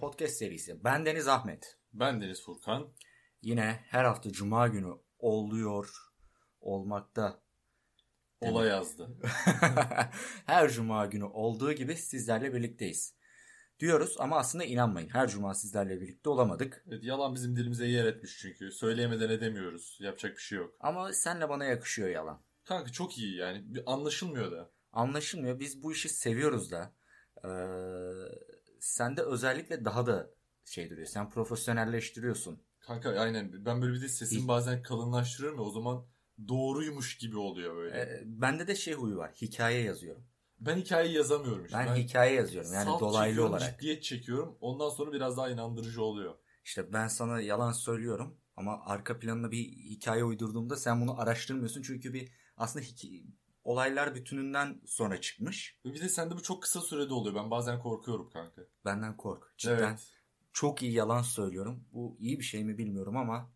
podcast serisi. Ben Deniz Ahmet. Ben Deniz Furkan. Yine her hafta cuma günü oluyor olmakta. Değil Ola mi? yazdı. her cuma günü olduğu gibi sizlerle birlikteyiz. Diyoruz ama aslında inanmayın. Her cuma sizlerle birlikte olamadık. Evet, yalan bizim dilimize yer etmiş çünkü. Söyleyemeden edemiyoruz. Yapacak bir şey yok. Ama senle bana yakışıyor yalan. Kanka çok iyi yani. Bir anlaşılmıyor da. Anlaşılmıyor. Biz bu işi seviyoruz da. Ee, sende özellikle daha da şey duruyor. Sen profesyonelleştiriyorsun. Kanka aynen. Ben böyle bir de sesimi İyi. bazen kalınlaştırıyorum ya. O zaman doğruymuş gibi oluyor böyle. Ee, bende de şey huyu var. Hikaye yazıyorum. Ben hikayeyi yazamıyorum işte. Ben, hikaye yazıyorum. Yani salt dolaylı çekiyorum, olarak. Ciddiyet çekiyorum. Ondan sonra biraz daha inandırıcı oluyor. İşte ben sana yalan söylüyorum ama arka planına bir hikaye uydurduğumda sen bunu araştırmıyorsun çünkü bir aslında hiki- olaylar bütününden sonra çıkmış. Ve Bir de sende bu çok kısa sürede oluyor. Ben bazen korkuyorum kanka. Benden kork. Cidden Evet. çok iyi yalan söylüyorum. Bu iyi bir şey mi bilmiyorum ama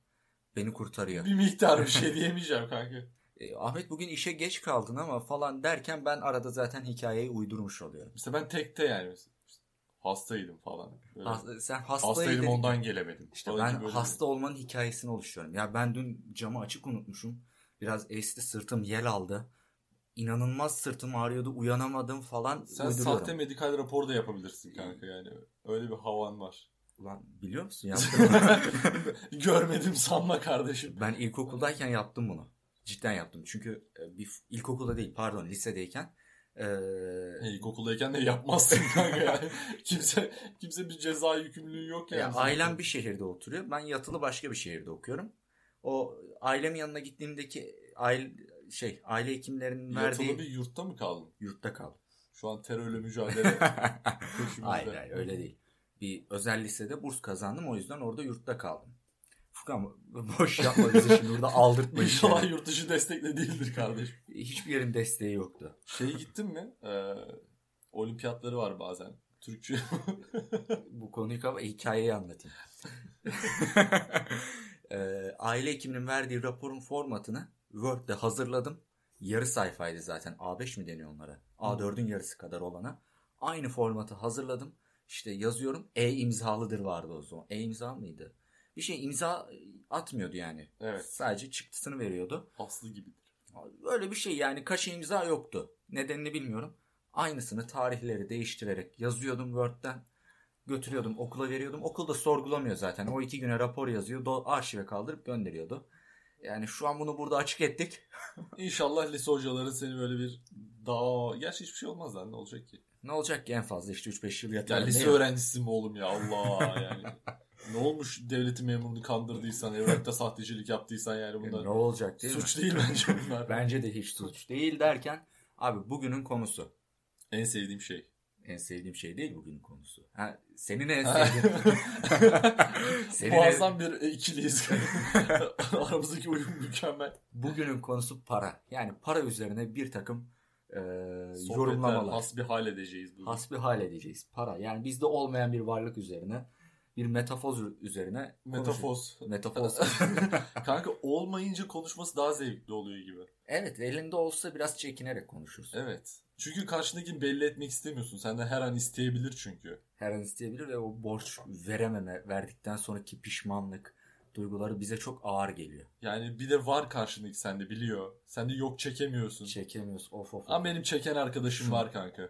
beni kurtarıyor. Bir miktar bir şey diyemeyeceğim kanka. E, Ahmet bugün işe geç kaldın ama falan derken ben arada zaten hikayeyi uydurmuş oluyorum. Mesela ben tekte yani. Hastaydım falan. Böyle. Has- sen hastayım Hastaydım dedin. ondan gelemedim. İşte Falan gibi ben böyle hasta olmanın hikayesini oluşturuyorum. Ya ben dün camı açık unutmuşum. Biraz esti sırtım yel aldı. İnanılmaz sırtım ağrıyordu. Uyanamadım falan. bir- Sen uyduruyorum. sahte medikal rapor da yapabilirsin kanka yani. Öyle bir havan var. Ulan biliyor musun? Yaptım bunu. Görmedim sanma kardeşim. ben ilkokuldayken yaptım bunu. Cidden yaptım. Çünkü e, bir ilkokulda değil pardon lisedeyken. e, E, İlkokuldayken de yapmazsın kanka yani. Kimse, kimse bir ceza yükümlülüğü yok yani. ya ailem bir şehirde oturuyor. Ben yatılı başka bir şehirde okuyorum. O ailemin yanına gittiğimdeki aile şey aile hekimlerinin Yatılı verdiği bir yurtta mı kaldın? yurtta kaldım. Şu an terörle mücadele peşimizde. Hayır hayır öyle değil. Bir özel lisede burs kazandım o yüzden orada yurtta kaldım. Furkan boş yapma bizi şimdi burada aldırtma işi. İnşallah yurt dışı destekle değildir kardeşim. Hiçbir yerin desteği yoktu. Şeye gittin mi? Ee, olimpiyatları var bazen. Türkçe. Bu konuyu kapa hikayeyi anlatayım. Ee, aile hekiminin verdiği raporun formatını Word'de hazırladım. Yarı sayfaydı zaten. A5 mi deniyor onlara? A4'ün yarısı kadar olana. Aynı formatı hazırladım. İşte yazıyorum. E imzalıdır vardı o zaman. E imza mıydı? Bir şey imza atmıyordu yani. evet. Sadece çıktısını veriyordu. Aslı gibidir. Öyle bir şey yani kaşe imza yoktu. Nedenini bilmiyorum. Aynısını tarihleri değiştirerek yazıyordum Word'den. Götürüyordum okula veriyordum. Okul da sorgulamıyor zaten. O iki güne rapor yazıyor. Do- arşive kaldırıp gönderiyordu. Yani şu an bunu burada açık ettik. İnşallah lise hocaları seni böyle bir daha... Gerçi hiçbir şey olmaz lan ne olacak ki? Ne olacak ki en fazla işte 3-5 yıl Ya yatarım. lise değil mi? öğrencisi mi oğlum ya Allah yani. ne olmuş devletin memurunu kandırdıysan, evrakta sahtecilik yaptıysan yani ne bunlar olacak değil suç mi? değil bence bunlar. Bence de hiç suç değil derken abi bugünün konusu. En sevdiğim şey. En sevdiğim şey değil bugünün konusu. Ha, senin en sevdiğin. senin en- Muazzam bir e, ikiliyiz. Aramızdaki uyum mükemmel. Bugünün konusu para. Yani para üzerine bir takım e, Sohbetler yorumlamalar. hasbihal edeceğiz bugün. Hasbihal edeceğiz. Para. Yani bizde olmayan bir varlık üzerine, bir metafoz üzerine konuşuyoruz. Metafoz. Metafoz. Kanka olmayınca konuşması daha zevkli oluyor gibi. evet elinde olsa biraz çekinerek konuşursun. Evet. Çünkü karşındakini belli etmek istemiyorsun. Senden her an isteyebilir çünkü. Her an isteyebilir ve o borç verememe verdikten sonraki pişmanlık duyguları bize çok ağır geliyor. Yani bir de var karşındaki sende biliyor. Sen de yok çekemiyorsun. Çekemiyoruz of of. Ama of. benim çeken arkadaşım Şu- var kanka.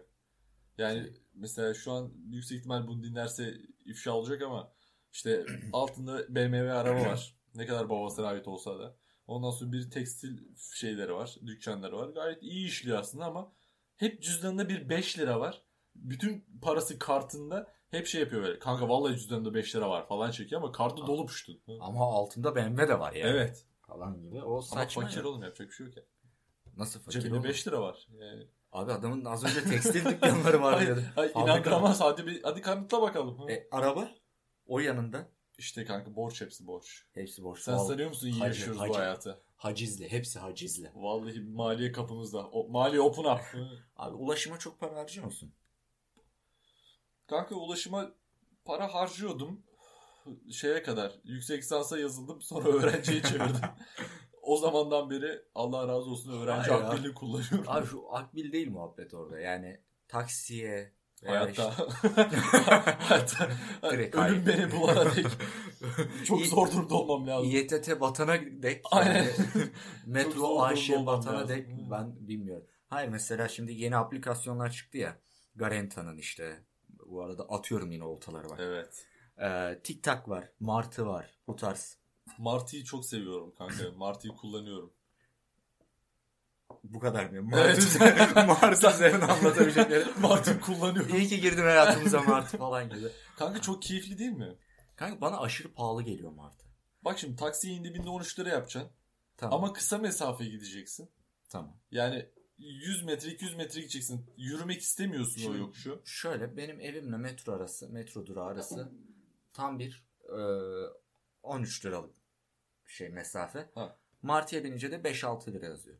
Yani mesela şu an yüksek ihtimal bunu dinlerse ifşa olacak ama işte altında BMW araba var. Ne kadar babasına ait olsa da. Ondan sonra bir tekstil şeyleri var, dükkanları var. Gayet iyi işliyor aslında ama hep cüzdanında bir 5 lira var. Bütün parası kartında hep şey yapıyor böyle. Kanka vallahi cüzdanında 5 lira var falan çekiyor ama kartı dolu püştün. Ama altında BMW de var yani. Evet. Falan gibi. O Ama saçma. fakir ya. oğlum yapacak bir şey yok ya. Nasıl fakir Cebinde oğlum? 5 lira var. Yani Abi adamın az önce tekstil dükkanları var Hayır, dedi. hayır Fabrika- inandıramaz. Hadi, bir, hadi kanıtla bakalım. Ha. E, araba o yanında. İşte kanka borç hepsi borç. Hepsi borç. Sen Vallahi sanıyor musun iyi Hacı, yaşıyoruz hacı. bu hayatı? Hacizli. Hepsi hacizli. Vallahi maliye kapımızda. O, maliye open up. Hı. Abi ulaşıma çok para harcıyor musun? kanka ulaşıma para harcıyordum. Şeye kadar. Yüksek lisansa yazıldım. Sonra öğrenciye çevirdim. o zamandan beri Allah razı olsun öğrenci Hayır ya. akbili kullanıyorum. Abi şu akbil değil muhabbet orada. Yani taksiye, Veya hayatta, işte- hayatta Direkt hayır. ölüm beni bulana dek çok zor durumda olmam lazım. İETT batana dek Aynen. yani Çok zor metro durumda AŞ olmam batana lazım. dek Hı. ben bilmiyorum. Hayır mesela şimdi yeni aplikasyonlar çıktı ya. Garenta'nın işte bu arada atıyorum yine oltaları var. Evet. Ee, TikTok var, Martı var bu tarz. Martı'yı çok seviyorum kanka. Martı'yı kullanıyorum. Bu kadar mı? Evet. Martı, Martı üzerine şey anlatabilecekleri. Martı'yı kullanıyorum. İyi ki girdim hayatımıza Martı falan gibi. Kanka çok keyifli değil mi? Kanka bana aşırı pahalı geliyor Martı. Bak şimdi taksiye indiğinde 13 lira yapacaksın. Tamam. Ama kısa mesafe gideceksin. tamam. Yani 100 metre 200 metre gideceksin. Yürümek istemiyorsun Şimdi- o yokuşu. Şöyle benim evimle metro arası, metro durağı arası tam bir e, 13 liralık şey mesafe. Ha. Martı'ya binince de 5-6 lira yazıyor.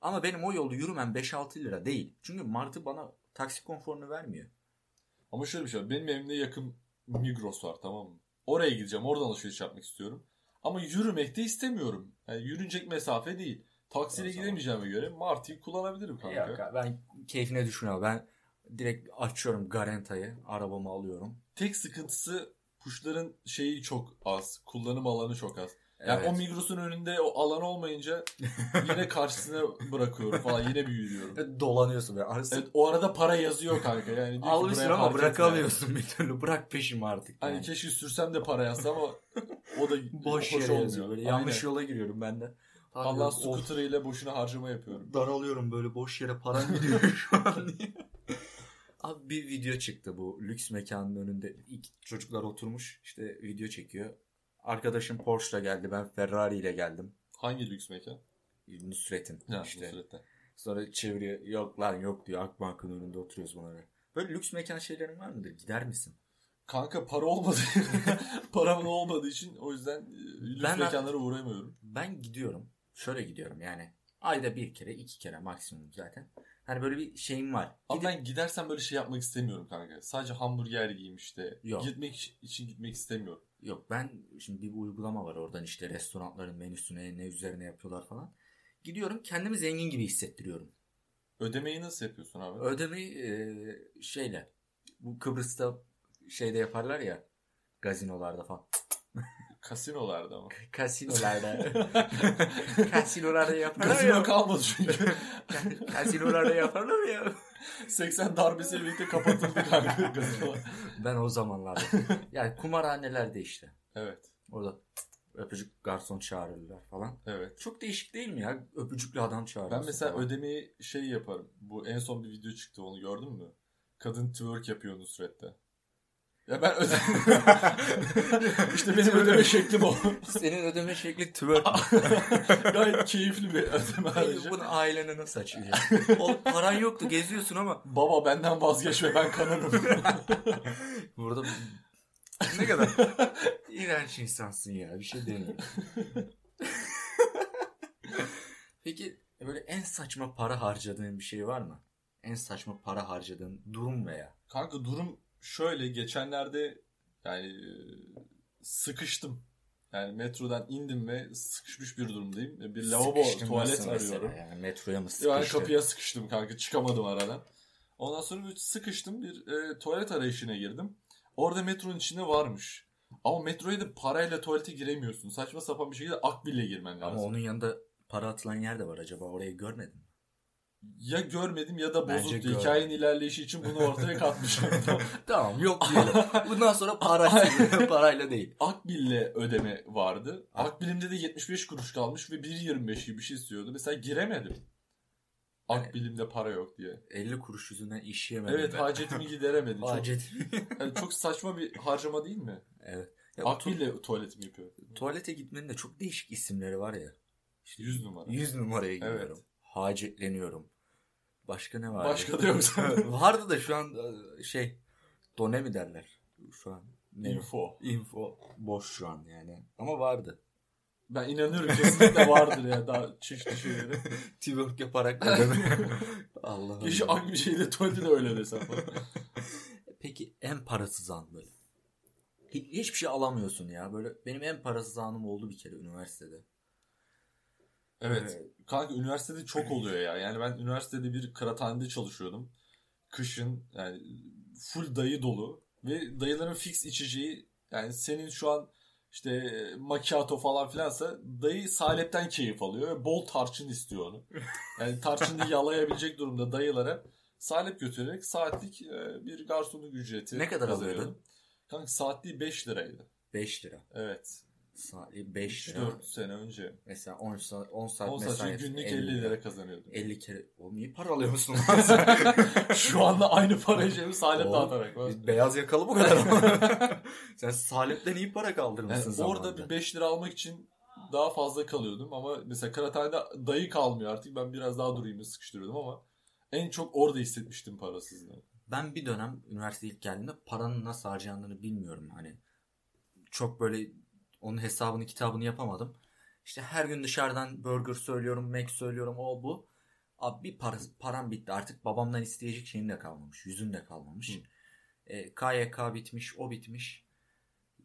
Ama benim o yolu yürümem 5-6 lira değil. Çünkü Martı bana taksi konforunu vermiyor. Ama şöyle bir şey var. Benim evimde yakın Migros var tamam mı? Oraya gideceğim. Oradan alışveriş yapmak istiyorum. Ama yürümek de istemiyorum. Yani yürünecek mesafe değil. Taksiyle O zaman- gidemeyeceğime göre Martı'yı kullanabilirim kanka. Yok abi, ben keyfine düşünüyorum. Ben direkt açıyorum Garanta'yı, arabamı alıyorum. Tek sıkıntısı kuşların şeyi çok az. Kullanım alanı çok az. Yani Evet. o Migros'un önünde o alan olmayınca yine karşısına bırakıyorum falan. Yine bir yürüyorum. dolanıyorsun böyle. Arası Evet, o arada para yazıyor kanka. Yani diyor ki almışsın buraya ama park etme. bırakamıyorsun bir türlü. Bırak peşim artık. Hani yani. keşke sürsem de para yazsa ama o da şey, boş hoş yere olmuyor. yazıyor. Böyle Aynen. yanlış yola giriyorum ben de. Allah Of, scooter ile boşuna harcama yapıyorum. daralıyorum böyle boş yere param gidiyor şu an diye. Abi bir video çıktı bu lüks mekanın önünde ilk çocuklar oturmuş işte video çekiyor. Arkadaşım Porsche'la geldi ben Ferrari ile geldim. Hangi lüks mekan? Nusret'in Ya, işte. Nusret'te. Sonra çeviriyor yok lan yok diyor Akbank'ın önünde oturuyoruz bunlara. Böyle lüks mekan şeylerin var mıdır? Gider misin? Kanka para olmadı. Param olmadığı için o yüzden e, lüks Ben- mekanlara uğramıyorum. Ben gidiyorum. Şöyle gidiyorum yani. Ayda bir kere iki kere maksimum zaten. Hani böyle bir şeyim var. Ama ben gidersem böyle şey yapmak istemiyorum kanka. Sadece hamburger yiyeyim işte. Yok. Gitmek için gitmek istemiyorum. Yok ben şimdi bir uygulama var oradan işte restoranların menüsüne ne üzerine yapıyorlar falan. Gidiyorum kendimi zengin gibi hissettiriyorum. Ödemeyi nasıl yapıyorsun abi? Ödemeyi e, şeyle bu Kıbrıs'ta şeyde yaparlar ya gazinolarda falan. Kasinolarda ama. Kasinolarda. Kasinolarda yaparlar Kasino ya. kalmadı çünkü. Kasinolarda yaparlar ya. 80 darbesiyle birlikte kapatıldı kanka gazinolar. Ben o zamanlarda. Yani kumarhanelerde işte. Evet. Orada öpücük garson çağırırlar falan. Evet. Çok değişik değil mi ya? Öpücüklü adam çağırıyorsun. Ben mesela falan. ödemeyi şey yaparım. Bu en son bir video çıktı onu gördün mü? Kadın twerk yapıyor Nusret'te. Ya ben öde... işte benim ödeme şeklim o. Senin ödeme şekli twerk. Gayet keyifli bir ödeme ayrıca. Bunu ailene nasıl açıklayacaksın? Oğlum paran yoktu geziyorsun ama. Baba benden vazgeç ve ben kanarım. Burada ne kadar iğrenç insansın ya bir şey demiyorum. Peki böyle en saçma para harcadığın bir şey var mı? En saçma para harcadığın durum veya. Kanka durum şöyle geçenlerde yani e, sıkıştım. Yani metrodan indim ve sıkışmış bir durumdayım. E, Bir lavabo Sıkıştın tuvalet nasıl mesela arıyorum. Yani metroya mı Ben sıkıştın? kapıya sıkıştım kanka çıkamadım aradan. Ondan sonra bir sıkıştım bir e, tuvalet arayışına girdim. Orada metronun içinde varmış. Ama metroya da parayla tuvalete giremiyorsun. Saçma sapan bir şekilde akbille girmen lazım. Ama onun yanında para atılan yer de var acaba orayı görmedin mi? Ya görmedim ya da Bence bozuktu. görmedim. Hikayenin ilerleyişi için bunu ortaya katmışım. Tamam yok diyelim. Bundan sonra para, parayla değil. Akbille ödeme vardı. Akbilimde de 75 kuruş kalmış ve 1.25 gibi bir şey istiyordu. Mesela giremedim. Akbilimde para yok diye. 50 kuruş yüzünden iş yemedim Evet ben. hacetimi gideremedim. Çok, Acil. yani çok saçma bir harcama değil mi? evet. Ya bu tu- Akbil'le tuvaletimi yapıyorum. tuvalete gitmenin de çok değişik isimleri var ya. 100 numara. 100 numaraya Evet. giriyorum. Hacetleniyorum. Başka ne var? Başka da yoksa. Vardı da şu an e, şey done mi derler? Şu an ne? Info. Info boş şu an yani. Ama vardı. Ben inanıyorum kesinlikle vardır ya daha çeşitli şeyleri. Twerk yaparak ödeme. Allah'ım. Keşke ak bir şeyde tuvaleti de öyle desem. bana. Peki en parasız an böyle. Hi- Hiçbir şey alamıyorsun ya. Böyle benim en parasız anım oldu bir kere üniversitede. Evet. Kanka üniversitede çok oluyor ya. Yani ben üniversitede bir kıraathanede çalışıyordum. Kışın yani full dayı dolu ve dayıların fix içeceği yani senin şu an işte e, macchiato falan filansa dayı salepten keyif alıyor ve bol tarçın istiyor onu. Yani tarçını yalayabilecek durumda dayılara salep götürerek saatlik e, bir garsonluk ücreti Ne kadar kazanıyordu. alıyordun? Kanka saatliği 5 liraydı. 5 lira. Evet. Saatli 5 lira. 4 sene önce. Mesela 10 saat, 10 saat 10 saat mesai. önce günlük 50 lira kazanıyordum. 50 kere. Oğlum iyi para alıyorsun lan sen? Şu anda aynı parayı cebim salep Oğlum, dağıtarak var. Biz beyaz yakalı bu kadar ama. sen salepten iyi para kaldırmışsın Yani orada bir 5 lira almak için daha fazla kalıyordum ama mesela kıraathanede dayı kalmıyor artık. Ben biraz daha durayım sıkıştırıyordum ama en çok orada hissetmiştim parasızlığı. Ben bir dönem üniversiteye ilk geldiğimde paranın nasıl harcandığını bilmiyorum. Hani çok böyle onun hesabını kitabını yapamadım. İşte her gün dışarıdan burger söylüyorum, mac söylüyorum o bu. Abi bir para, param bitti artık babamdan isteyecek şeyim de kalmamış, yüzüm de kalmamış. Hı. E, KYK bitmiş, o bitmiş.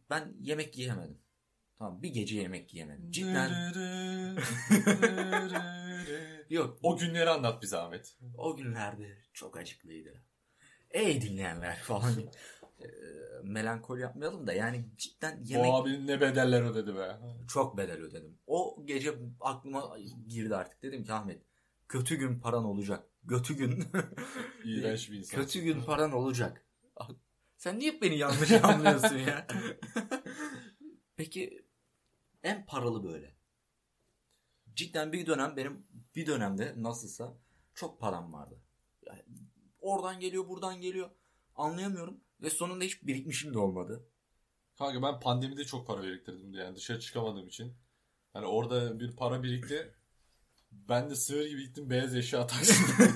Ben yemek yiyemedim. Tamam bir gece yemek yiyemedim. Cidden yok o günleri anlat bize Ahmet. O günlerde çok acıklıydı. Ey dinleyenler falan. Eee, melankoli yapmayalım da yani cidden yemek O abinin ne bedeller ödedi be. çok bedel ödedim. O gece aklıma girdi artık. Dedim ki Ahmet kötü gün paran olacak. Kötü gün. İğrenç bir insan. kötü gün paran olacak. Sen niye hep beni yanlış anlıyorsun ya? Peki en paralı böyle. Cidden bir dönem benim bir dönemde nasılsa çok param vardı. Yani oradan geliyor buradan geliyor anlayamıyorum ve sonunda hiç birikmişim de olmadı. Kanka ben pandemide çok para biriktirdim diye yani dışarı çıkamadığım için. Hani orada bir para birikti. Ben de sığır gibi gittim beyaz eşya taksittim.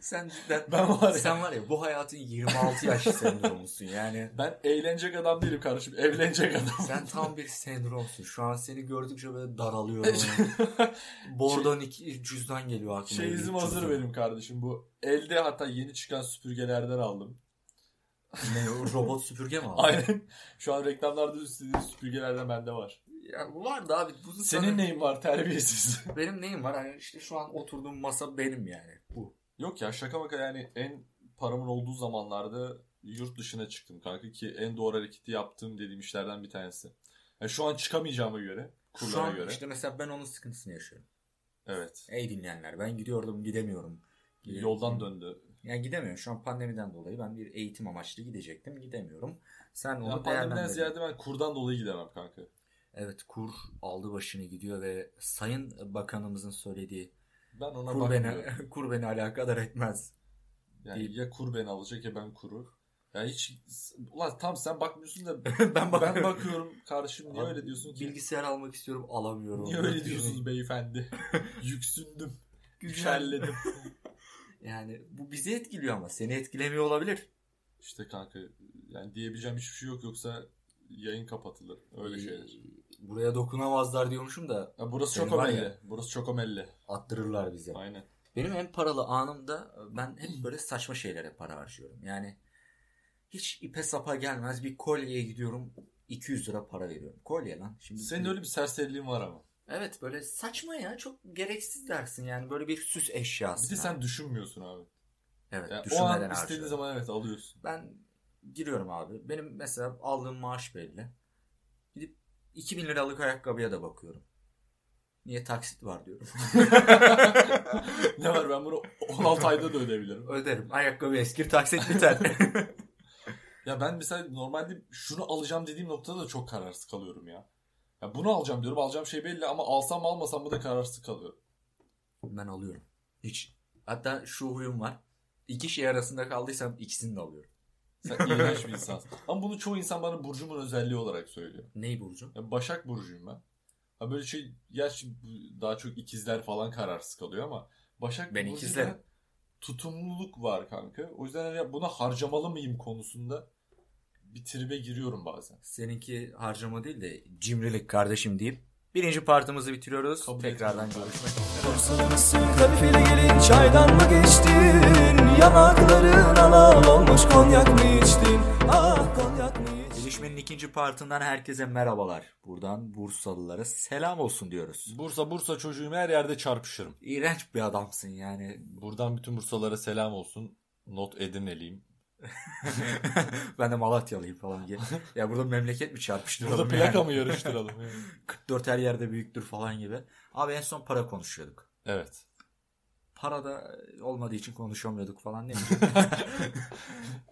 Sen cidden ben var ya. sen var ya bu hayatın 26 yaş sendromusun yani. Ben eğlenecek adam değilim kardeşim. Evlenecek adam. Sen tam bir sendromsun. Şu an seni gördükçe böyle daralıyorum. Bordo'nun hani iki cüzdan geliyor aklıma. Şey izim hazır Cüzdan. benim kardeşim. Bu elde hatta yeni çıkan süpürgelerden aldım. Ne o robot süpürge mi aldın? Aynen. Şu an reklamlarda istediğim süpürgelerden bende var. Ya var da abi. Bunu Senin neyin var terbiyesiz? Benim neyim var? Hani işte şu an oturduğum masa benim yani. Bu. Yok ya şaka maka yani en paramın olduğu zamanlarda yurt dışına çıktım kanka ki en doğru hareketi yaptığım dediğim işlerden bir tanesi. Yani şu an çıkamayacağıma göre, şu kurlara an göre. işte mesela ben onun sıkıntısını yaşıyorum. Evet. Ey dinleyenler ben gidiyordum gidemiyorum. Yoldan döndü. Yani gidemiyorum. Şu an pandemiden dolayı ben bir eğitim amaçlı gidecektim. Gidemiyorum. Sen onu Ya pandemiden değerlendir. ziyade ben kurdan dolayı gidemem kanka. Evet kur aldı başını gidiyor ve Sayın Bakanımızın söylediği Ben ona kur bakmıyorum. beni, kur beni alakadar etmez. Yani ya kur beni alacak ya ben kuru. Ya hiç ulan tam sen bakmıyorsun da ben bakıyorum. ben bakıyorum kardeşim niye Abi, öyle diyorsun ki? Bilgisayar almak istiyorum alamıyorum. Niye öyle diyorsunuz beyefendi? Yüksündüm, güçelledim. Yani bu bizi etkiliyor ama seni etkilemiyor olabilir. İşte kanka yani diyebileceğim hiçbir şey yok yoksa yayın kapatılır. Öyle şeyler. Ee, Buraya dokunamazlar diyormuşum da Ya burası Senin çok var omelli. ya. Burası çok omelli. attırırlar bize. Aynen. Benim en paralı anımda e, ben hep böyle saçma şeylere para harcıyorum. Yani hiç ipe sapa gelmez bir kolyeye gidiyorum 200 lira para veriyorum. Kolye lan. Şimdi Senin öyle bir serseriliğin var ama. Evet böyle saçma ya çok gereksiz dersin yani böyle bir süs Bir eşyası. de sen düşünmüyorsun abi. evet, Yani o düşünmeden an istediğin harcıyorum. zaman evet alıyorsun. Ben giriyorum abi. Benim mesela aldığım maaş belli. Gidip 2000 liralık ayakkabıya da bakıyorum. Niye taksit var diyorum. ne var ben bunu 16 ayda da ödeyebilirim. Öderim. Ayakkabı eskir taksit biter. Ya ben mesela normalde şunu alacağım dediğim noktada da çok kararsız kalıyorum ya. Ya bunu alacağım diyorum. Alacağım şey belli ama alsam mı almasam mı da kararsız kalıyorum. ben alıyorum. Hiç. Hatta şu huyum var. İki şey arasında kaldıysam ikisini de alıyorum. Sen iğrenç bir insansın. Ama bunu çoğu insan bana burcumun özelliği olarak söylüyor. Ney Burcu? Ya Başak burcuyum ben. Ha böyle şey gerçi bu- daha çok ikizler falan kararsız kalıyor ama Başak Ben burcunda ikizlerim. tutumluluk var kanka. O yüzden hani buna harcamalı mıyım konusunda bir tribe giriyorum bazen. Seninki harcama değil de cimrilik kardeşim deyip birinci partımızı bitiriyoruz. Kabul Tekrardan etmiyorum. görüşmek Bursa'da mısın? Kadifeli gelin çaydan mı geçtin? Yanakların alal olmuş konyak mı içtin? Ah konyak mı içtin? Gelişmenin ikinci partından herkese merhabalar. Buradan Bursalılara selam olsun diyoruz. Bursa Bursa çocuğum her yerde çarpışırım. İğrenç bir adamsın yani. Buradan bütün Bursalara selam olsun. Not Edirne'liyim. ben de Malatyalıyım falan diye. Ya burada memleket mi çarpıştıralım? Burada yani? plaka mı yarıştıralım? 44 her yerde büyüktür falan gibi. Abi en son para konuşuyorduk. evet. Para da e, olmadığı için konuşamıyorduk falan değil mi?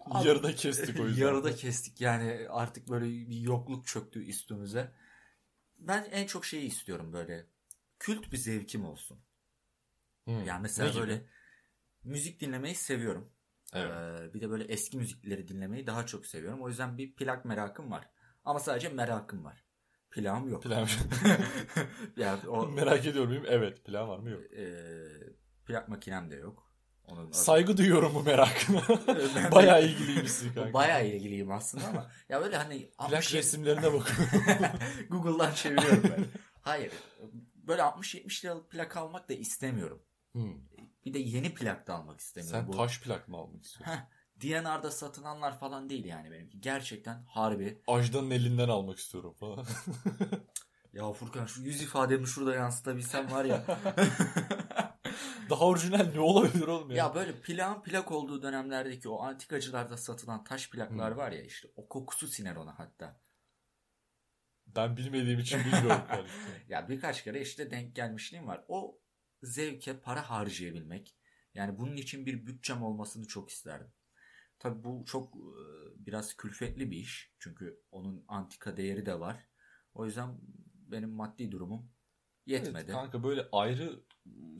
Abi, Yarıda kestik o yüzden. Yarıda kestik yani artık böyle bir yokluk çöktü üstümüze. Ben en çok şeyi istiyorum böyle. Kült bir zevkim olsun. Hı. Yani mesela Ne gibi? böyle müzik dinlemeyi seviyorum. Evet. Ee, bir de böyle eski müzikleri dinlemeyi daha çok seviyorum. O yüzden bir plak merakım var. Ama sadece merakım var. Plağım yok. Plan. yani o Merak ediyor muyum? Evet. Plan var mı? Yok. e, plak makinem de yok. Onun Saygı duyuyorum bu merakına. Ben- Bayağı ilgiliymişsin kanka. bayağı ilgiliyim aslında ama ya böyle hani Plak 60 resimlerine bakıyorum. Google'dan çeviriyorum ben. Hayır. Böyle 60-70 liralık plak almak da istemiyorum. Hı. Bir de yeni plak da almak istemiyorum. Sen Bu taş plak mı almak istiyorsun? DNR'da satılanlar falan değil yani benimki. Gerçekten harbi Ajda'nın elinden almak istiyorum falan. Ya Furkan şu yüz ifademi şurada yansıtabilsem var ya. Daha orijinal ne olabilir oğlum ya? ya böyle plağın plak olduğu dönemlerdeki o antikacılarda satılan taş plaklar Hı. var ya işte o kokusu siner ona hatta. Ben bilmediğim için bilmiyorum. yani. Ya birkaç kere işte denk gelmişliğim var. O zevke para harcayabilmek. Yani bunun için bir bütçem olmasını çok isterdim. Tabii bu çok e, biraz külfetli bir iş. Çünkü onun antika değeri de var. O yüzden benim maddi durumum Evet, yetmedi. kanka böyle ayrı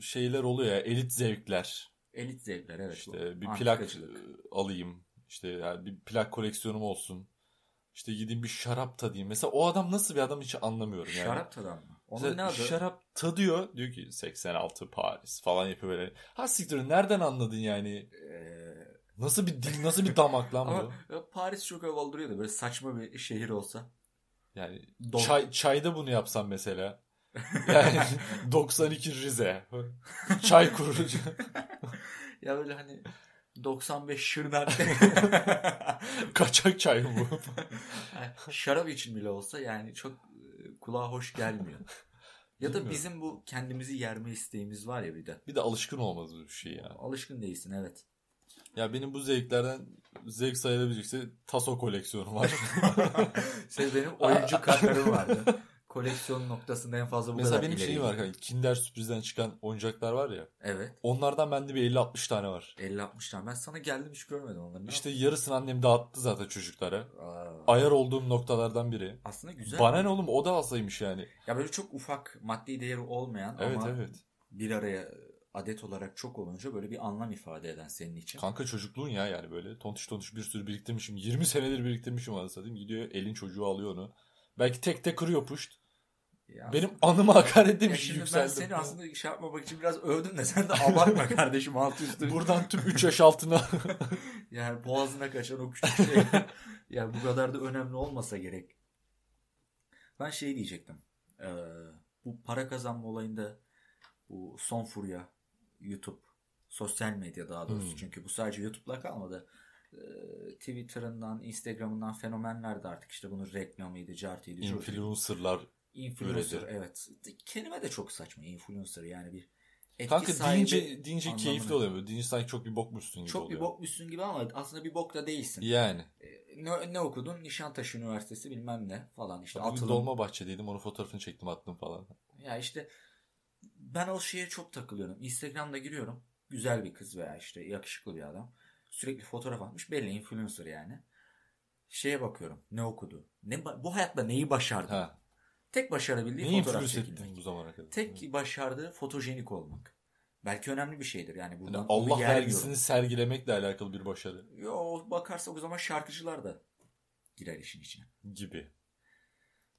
şeyler oluyor ya. Elit zevkler. Elit zevkler evet. İşte bu bir plak antikacılık. e, alayım. İşte yani bir plak koleksiyonum olsun. İşte gideyim bir şarap tadayım. Mesela o adam nasıl bir adam hiç anlamıyorum yani. Şarap tadan mı? Onun Mesela ne adı? Şarap tadıyor. Diyor ki 86 Paris falan yapıyor böyle. Ha siktir nereden anladın yani? Ee, Nasıl bir dil, nasıl bir damak lan bu? ama e, Paris çok havalı duruyor da böyle saçma bir şehir olsa. Yani Don- çay, çayda bunu yapsam mesela. Yani 92 Rize. Çay kurucu. Ya böyle hani 95 Şırnak. Kaçak çay bu. Şarap için bile olsa yani çok e, kulağa hoş gelmiyor. Ya da Bilmiyorum. bizim bu kendimizi yerme isteğimiz var ya bir de. Bir de alışkın olmadığı bir şey yani. Alışkın değilsin evet. Ya benim bu zevklerden zevk sayılabilecekse taso koleksiyonu var. Sen benim oyuncu kartlarım vardı. Koleksiyon noktasında en fazla bu Mesela kadar benim şeyim ileriyim. var kanka. Kinder sürprizden çıkan oyuncaklar var ya. Evet. Onlardan bende bir 50-60 tane var. 50-60 tane. Ben sana geldim hiç görmedim onları. Ne İşte yarısını annem dağıttı zaten çocuklara. yap- Aa, Ayar olduğum noktalardan biri. aslında güzel. Bana ne oğlum o da alsaymış yani. Ya böyle çok ufak maddi değeri olmayan Evet ama evet. bir araya adet olarak çok olunca böyle bir anlam ifade eden senin için. Kanka çocukluğun ya yani böyle tontiş tontiş bir sürü biriktirmişim. 20 senedir biriktirmişim anasını satayım. Gidiyor elin çocuğu alıyor onu. Belki tek tek kırıyor puşt. Ya- Benim anıma hakaret Ya demiş şimdi yükseldim. ben seni aslında şey yapmamak için biraz övdüm de sen de abartma kardeşim altı üstü. Buradan tüm 3 yaş altına Yani boğazına kaçan o küçük şey. yani bu kadar da önemli olmasa gerek. Ben şey diyecektim. Ee, bu para kazanma olayında bu son furya YouTube, sosyal medya daha doğrusu. Hmm. Çünkü bu sadece YouTube'la kalmadı. Ee, Twitter'ından, Instagram'ından fenomenler de artık işte bunun reklamıydı, cartıydı, curtuydu. influencerlar Influencer Öyle evet. Kelime de çok saçma influencer yani bir etki Kanka sahibi deyince, deyince anlamını- keyifli oluyor böyle. Deyince sanki çok bir bokmuşsun gibi çok oluyor. bir bokmuşsun gibi ama aslında bir bok da değilsin. Yani. Ee, Ne, ne okudun? Nişantaşı Üniversitesi bilmem ne falan işte Bugün atılım. dolma bahçedeydim onun fotoğrafını çektim attım falan. Ya işte ben o şeye çok takılıyorum. Instagram'da giriyorum. Güzel bir kız veya işte yakışıklı bir adam. Sürekli fotoğraf atmış. Belli influencer yani. Şeye bakıyorum. Ne okudu? Ne ba- bu hayatta neyi başardı? Ha. Tek başarabildiği Neyi fotoğraf influence çekilmek. ettin bu zamana kadar? Yani Tek başardığı fotojenik olmak. Belki önemli bir şeydir yani bundan onu Allah yermiyorum. vergisini sergilemekle alakalı bir başarı Yo bakarsak o zaman şarkıcılar da girer işin içine. gibi.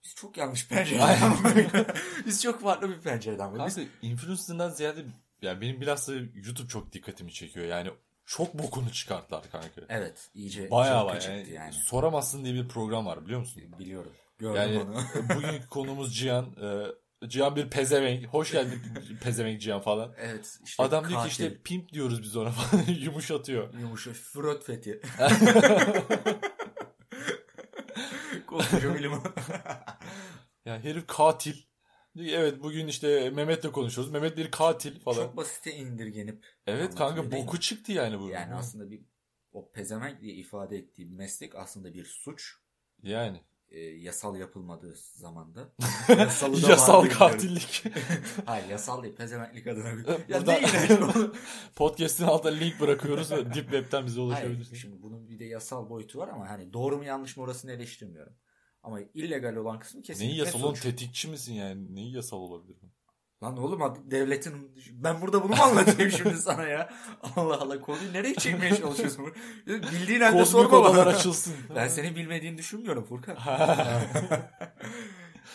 Biz çok yanlış pencereden bakıyoruz. Biz çok farklı bir pencereden bakıyoruz. Kanka influencer'dan ziyade yani benim bilhassa YouTube çok dikkatimi çekiyor. Yani çok bokunu çıkarttılar kanka. Evet iyice Bayağı E, çok var kaçırttı yani. yani. Soramazsın diye bir program var biliyor musun? Biliyorum. Gördüm Yani onu. bugünkü konumuz Cihan. Ee, Cihan bir pezevenk. Hoş geldin pezevenk Cihan falan. Evet işte Adam diyor ki katil, işte pimp diyoruz biz ona falan yumuşatıyor. yumuşak frot fethi. Koskoca bir limon. Yani herif katil. Diyor ki, Evet bugün işte Mehmet'le konuşuyoruz. Mehmet bir katil falan. Çok basite indirgenip evet anlatıyor kanka değil boku mi? çıktı yani bu. yani aslında bir o pezevenk diye ifade ettiği meslek aslında bir suç. Yani. Ee, yasal yapılmadığı zamanda. Yasalı da Yasal vardır diyorum. katillik. Hayır yasal değil pezevenklik adına. bir- Ya Ee, Burada- değil yani onu- Podcast'in altına link bırakıyoruz ve Deep Web'ten bize Hayır ulaşabilirsiniz. şimdi bunun bir de yasal boyutu var ama hani doğru mu yanlış mı orasını eleştirmiyorum. Ama illegal olan kısmı kesinlikle Neyi yasal oğlum? suç. Tetikçi misin yani? Neyi yasal olabilir? bu? Lan oğlum ad- devletin ben burada bunu mu anlatayım şimdi sana ya? Allah Allah konuyu nereye çekmeye çalışıyorsun? bunu? Bildiğin halde Kozmik sorma odalar bana. açılsın. Ben senin bilmediğini düşünmüyorum Furkan.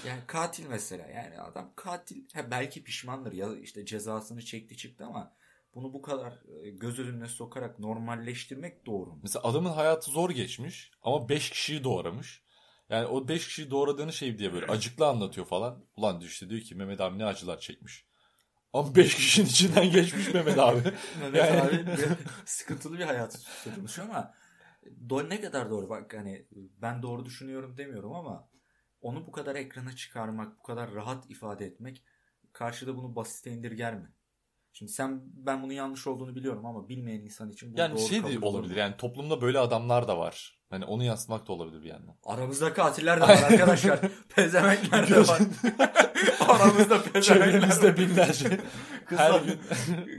yani katil mesela yani adam katil ha, belki pişmandır ya işte cezasını çekti çıktı ama bunu bu kadar e, göz önüne sokarak normalleştirmek doğru mu? Mesela adamın hayatı zor geçmiş ama 5 kişiyi doğramış. Yani o 5 kişiyi doğradığını şey diye böyle acıklı anlatıyor falan. Ulan diyor işte diyor ki Mehmet abi ne acılar çekmiş. Ama 5 kişinin içinden geçmiş Mehmet abi. Mehmet Yani- abi bir- sıkıntılı bir hayat sürmüş ama do- ne kadar doğru bak hani ben doğru düşünüyorum demiyorum ama onu bu kadar ekrana çıkarmak, bu kadar rahat ifade etmek karşıda bunu basite indirger mi? Şimdi sen ben bunun yanlış olduğunu biliyorum ama bilmeyen insan için bu Yani doğru şey kabul de olur mu? olabilir yani toplumda böyle adamlar da var. Hani onu yansıtmak da olabilir bir yandan. Aramızda katiller de var arkadaşlar. Pezevenkler de var. Aramızda pezevenkler. Çevremizde binlerce. Kızlar, Her gün.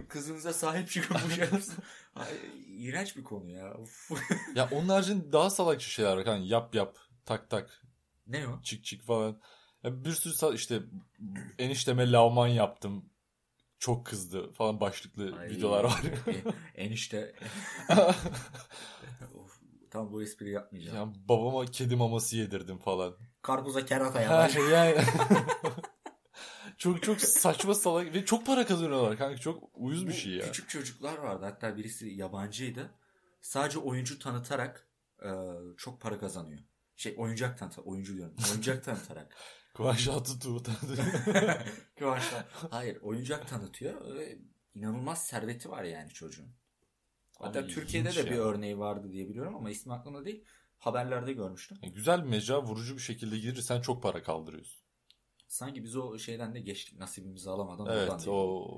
Kızınıza sahip çıkın bu şey. Ay, İğrenç bir konu ya. Uf. Ya onun haricinde daha salakça şeyler var. Hani yap yap, tak tak, ne o? çık çık falan. Ya bir sürü sa- işte enişteme lavman yaptım. Çok kızdı falan başlıklı Ay. videolar var. E- enişte. e, Of, tam bu espri yapmayacağım. yani babama kedi maması yedirdim falan. Karpuza kerata Her yapar. şey yani. çok çok saçma salak ve çok para kazanıyorlar kanka çok uyuz bir Bu şey ya. Küçük çocuklar vardı. Hatta birisi yabancıydı. Sadece oyuncu tanıtarak e, çok para kazanıyor. Şey oyuncak tanıtarak. Oyuncu diyorum. Oyuncak tanıtarak. Kıvanç Tatlıtuğ tanıdı. Kıvançlar. Hayır oyuncak tanıtıyor. Ee, İnanılmaz serveti var yani çocuğun. Hatta Abi Türkiye'de de ilginç bir ya. örneği vardı diye biliyorum ama ismi aklımda değil. Haberlerde görmüştüm. Yani Güzel bir mecra vurucu bir şekilde girirsen çok para kaldırıyorsun. Sanki biz o şeyden de geçtik nasibimizi alamadan. buradan evet değil. o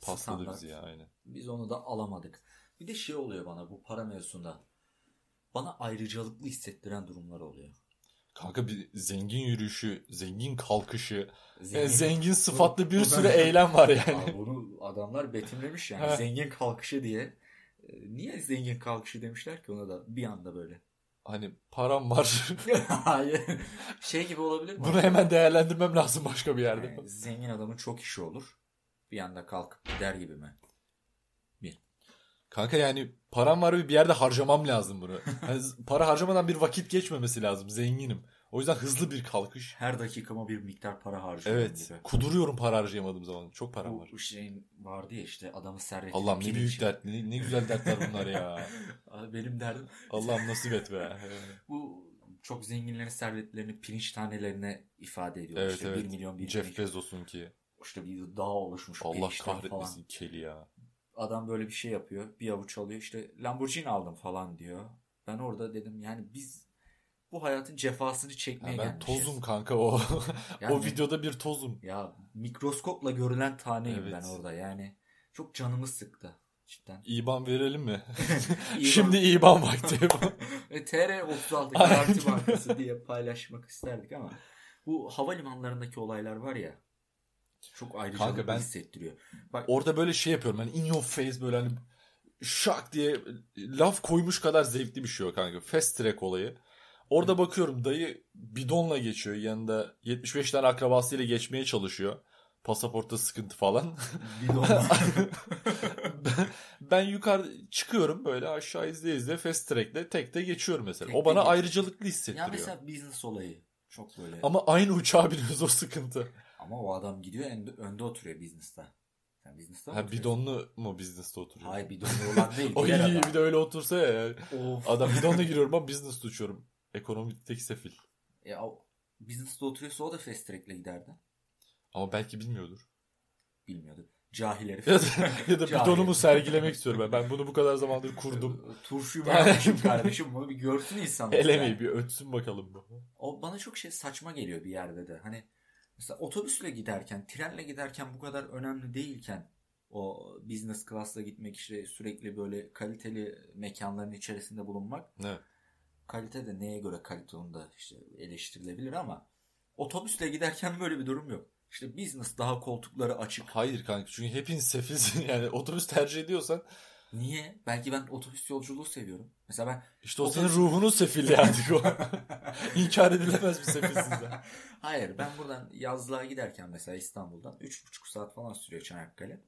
pasladı Standart. bizi ya aynen. Biz onu da alamadık. Bir de şey oluyor bana bu para mevzusunda. Bana ayrıcalıklı hissettiren durumlar oluyor. Kanka bir zengin yürüyüşü, zengin kalkışı, Zengin. E, zengin, zengin sıfatlı bir bu- sürü eylem var yani. Aa, bunu adamlar betimlemiş yani. Ha. zengin kalkışı diye. Ee, Niye zengin kalkışı demişler ki ona da bir anda böyle. Hani param var. Hayır. Şey gibi olabilir mi? Bunu hemen değerlendirmem lazım başka bir yerde. Yani zengin adamın çok işi olur. Bir anda kalkıp gider gibi mi? Kanka yani param var ve bir yerde harcamam lazım bunu. Yani z- para harcamadan bir vakit geçmemesi lazım. Zenginim. O yüzden hızlı bir kalkış. Her dakikama bir miktar para harcıyorum Evet. gibi. Kuduruyorum para harcayamadığım zaman. Çok param var. Bu şey. şeyin vardı ya işte adamı servet. Allah'ım ne büyük dert, ne, ne güzel dertler bunlar ya. Benim derdim Allah'ım nasip et be. bu çok zenginlerin servetlerini pirinç tanelerine ifade ediyor. Evet, işte evet. 1 milyon şey, bir Jeff pirinç. Bezos'un ki. İşte bir dağ oluşmuş Allah pirinçten kahretmesin keli ya. Adam böyle bir şey yapıyor. Bir avuç alıyor. İşte Lamborghini aldım falan diyor. Ben orada dedim yani biz bu hayatın cefasını Ya çekmeye ben gelmişiz. tozum kanka o. Yani- o videoda bir tozum. Ya mikroskopla görülen taneyim Evet. ben orada yani. Çok canımı sıktı cidden. İban verelim mi? İyi Şimdi İban vakti. E, TR36 Aynen. Garanti Bankası diye paylaşmak isterdik ama bu havalimanlarındaki olaylar var ya çok ayrıcalık Kanka ben- hissettiriyor. Orada böyle şey yapıyorum. Hani in your face böyle hani şak diye laf koymuş kadar zevkli bir şey o kanka. Fast track olayı. Orada bakıyorum dayı bidonla geçiyor. Yanında 75 tane akrabasıyla geçmeye çalışıyor. Pasaportta sıkıntı falan. Bidonla. ben, ben yukarı çıkıyorum böyle aşağı izle izle fast track'le tekte geçiyorum mesela. Tekte o bana geç. ayrıcalıklı ya hissettiriyor. mesela business olayı çok böyle. Ama, Ama aynı uçağa biniyoruz o sıkıntı. o adam gidiyor en, önde oturuyor business'ta. Sen business'ta mı Ha, oturuyorsun? bidonlu mu business'te oturuyor? Hayır bidonlu olan değil. O diğer iyi adam. bir de öyle otursa ya. Of. Adam bidonla giriyorum ama business uçuyorum. Ekonomikteki sefil. Ya, E, o- business'ta oturuyorsa o da fast track'le giderdi. Ama belki bilmiyordur. Bilmiyordu. Cahil herif. Ya da, ya da Cahil. bidonumu sergilemek istiyorum ben. Ben bunu bu kadar zamandır kurdum. Turşuyu ben yapmışım kardeşim bunu bir görsün insanlar. Elemeyi bir ötsün bakalım bu. O bana çok şey saçma geliyor bir yerde de. Hani Mesela otobüsle giderken, trenle giderken bu kadar önemli değilken o business class'la gitmek işte sürekli böyle kaliteli mekanların içerisinde bulunmak Evet. kalite de neye göre kalite onu da işte eleştirilebilir ama otobüsle giderken böyle bir durum yok. İşte business daha koltukları açık. Hayır kanka çünkü hepiniz sefilsin yani otobüs tercih ediyorsan Niye? Belki ben otobüs yolculuğu seviyorum. Mesela ben işte o Otobüs- senin ruhunun sefilliği artık o. İnkar edilemez bir sefilsizlik. Hayır ben buradan yazlığa giderken mesela İstanbul'dan 3,5 saat falan sürüyor Çanakkale.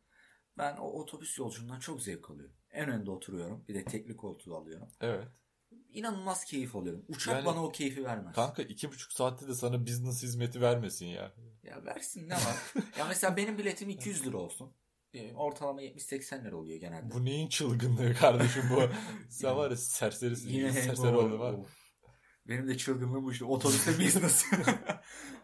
Ben o otobüs yolculuğundan çok zevk alıyorum. En önde oturuyorum. Bir de tekli koltuğu alıyorum. Evet. İnanılmaz keyif alıyorum. Uçak Yani- bana o keyfi vermez. Kanka iki buçuk saatte de sana business hizmeti vermesin ya. Ya versin ne var? ya mesela benim biletim 200 lira olsun. Ee, Ortalama 70-80 lira oluyor genelde. Bu neyin çılgınlığı kardeşim bu? Sen var ya serserisin. serseri bu- oldun var. bu- Benim de çılgınlığım bu işte. Otobüste business.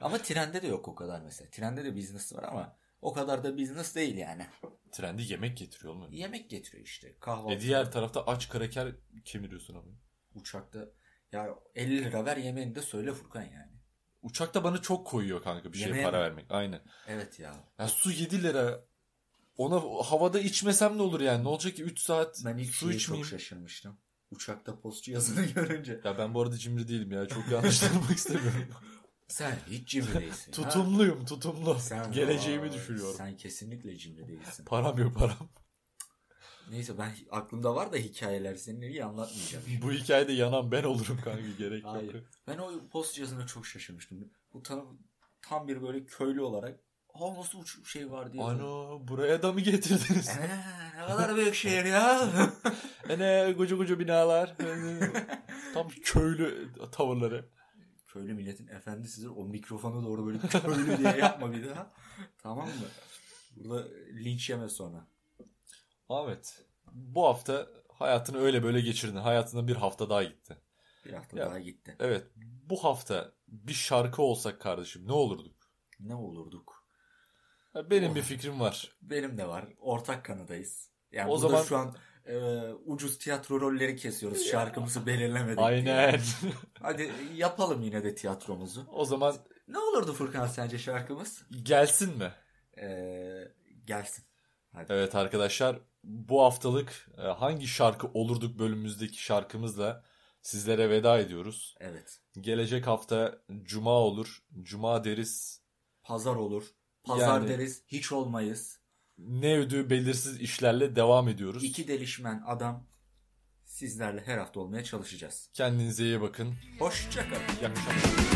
ama trende de yok o kadar mesela. Trende de business var ama o kadar da business değil yani. Trende yemek getiriyor oğlum. Yemek getiriyor işte. Kahvaltı. E diğer tarafta aç kraker kemiriyorsun abi. uçakta ya 50 lira ver yemeğini de söyle Furkan yani. Uçakta bana çok koyuyor kanka bir şeye Yemeğe para mi? vermek. Aynen. Evet ya. Ya su 7 lira. Ona havada içmesem ne olur yani? Ne olacak ki 3 saat Ben ilk su şeye çok içmeyeyim? şaşırmıştım. Uçakta postçu yazını görünce. Ya ben bu arada cimri değilim ya. Çok yanlış tanımak istemiyorum. Sen hiç cimri değilsin. ha? Tutumluyum tutumlu. Sen- Geleceğimi Aa, düşünüyorum. Sen kesinlikle cimri değilsin. Param yok param. Neyse ben aklımda var da hikayeler seninle iyi anlatmayacağım. Bu hikayede yanan ben olurum kanka. Gerek yok. Hayır. Ben o post yazına çok şaşırmıştım. Bu tam, tam bir böyle köylü olarak ha nasıl uç şey var diye. Ano buraya da mı getirdiniz? Ee, ne kadar büyük şehir ya. Ene koca koca binalar. Tam köylü tavırları. köylü milletin efendisidir. O mikrofona doğru böyle köylü diye yapma bir daha. Tamam mı? Burada linç yeme sonra. Ahmet bu hafta hayatını öyle böyle geçirdin. Hayatında bir hafta daha gitti. Bir hafta Ya. daha gitti. Evet bu hafta bir şarkı olsak kardeşim ne olurduk? Ne olurduk? Ya Benim Oh. bir fikrim var. Benim de var. Ortak kanıdayız. Yani O o zaman zaman- şu an e, ucuz tiyatro rolleri kesiyoruz. Şarkımızı belirlemedik. diye. Aynen. Hadi yapalım yine de tiyatromuzu. o zaman Ne olurdu Furkan sence şarkımız? gelsin mi? E, gelsin. Hadi. Evet arkadaşlar bu haftalık e, hangi şarkı olurduk bölümümüzdeki şarkımızla sizlere veda ediyoruz. Evet. Gelecek hafta cuma olur. Cuma deriz. Pazar olur. Pazar Yani- deriz. Hiç olmayız. Ne ödüğü belirsiz işlerle devam ediyoruz. İki delişmen adam sizlerle her hafta olmaya çalışacağız. Kendinize iyi bakın. Hoşçakalın. İyi akşamlar.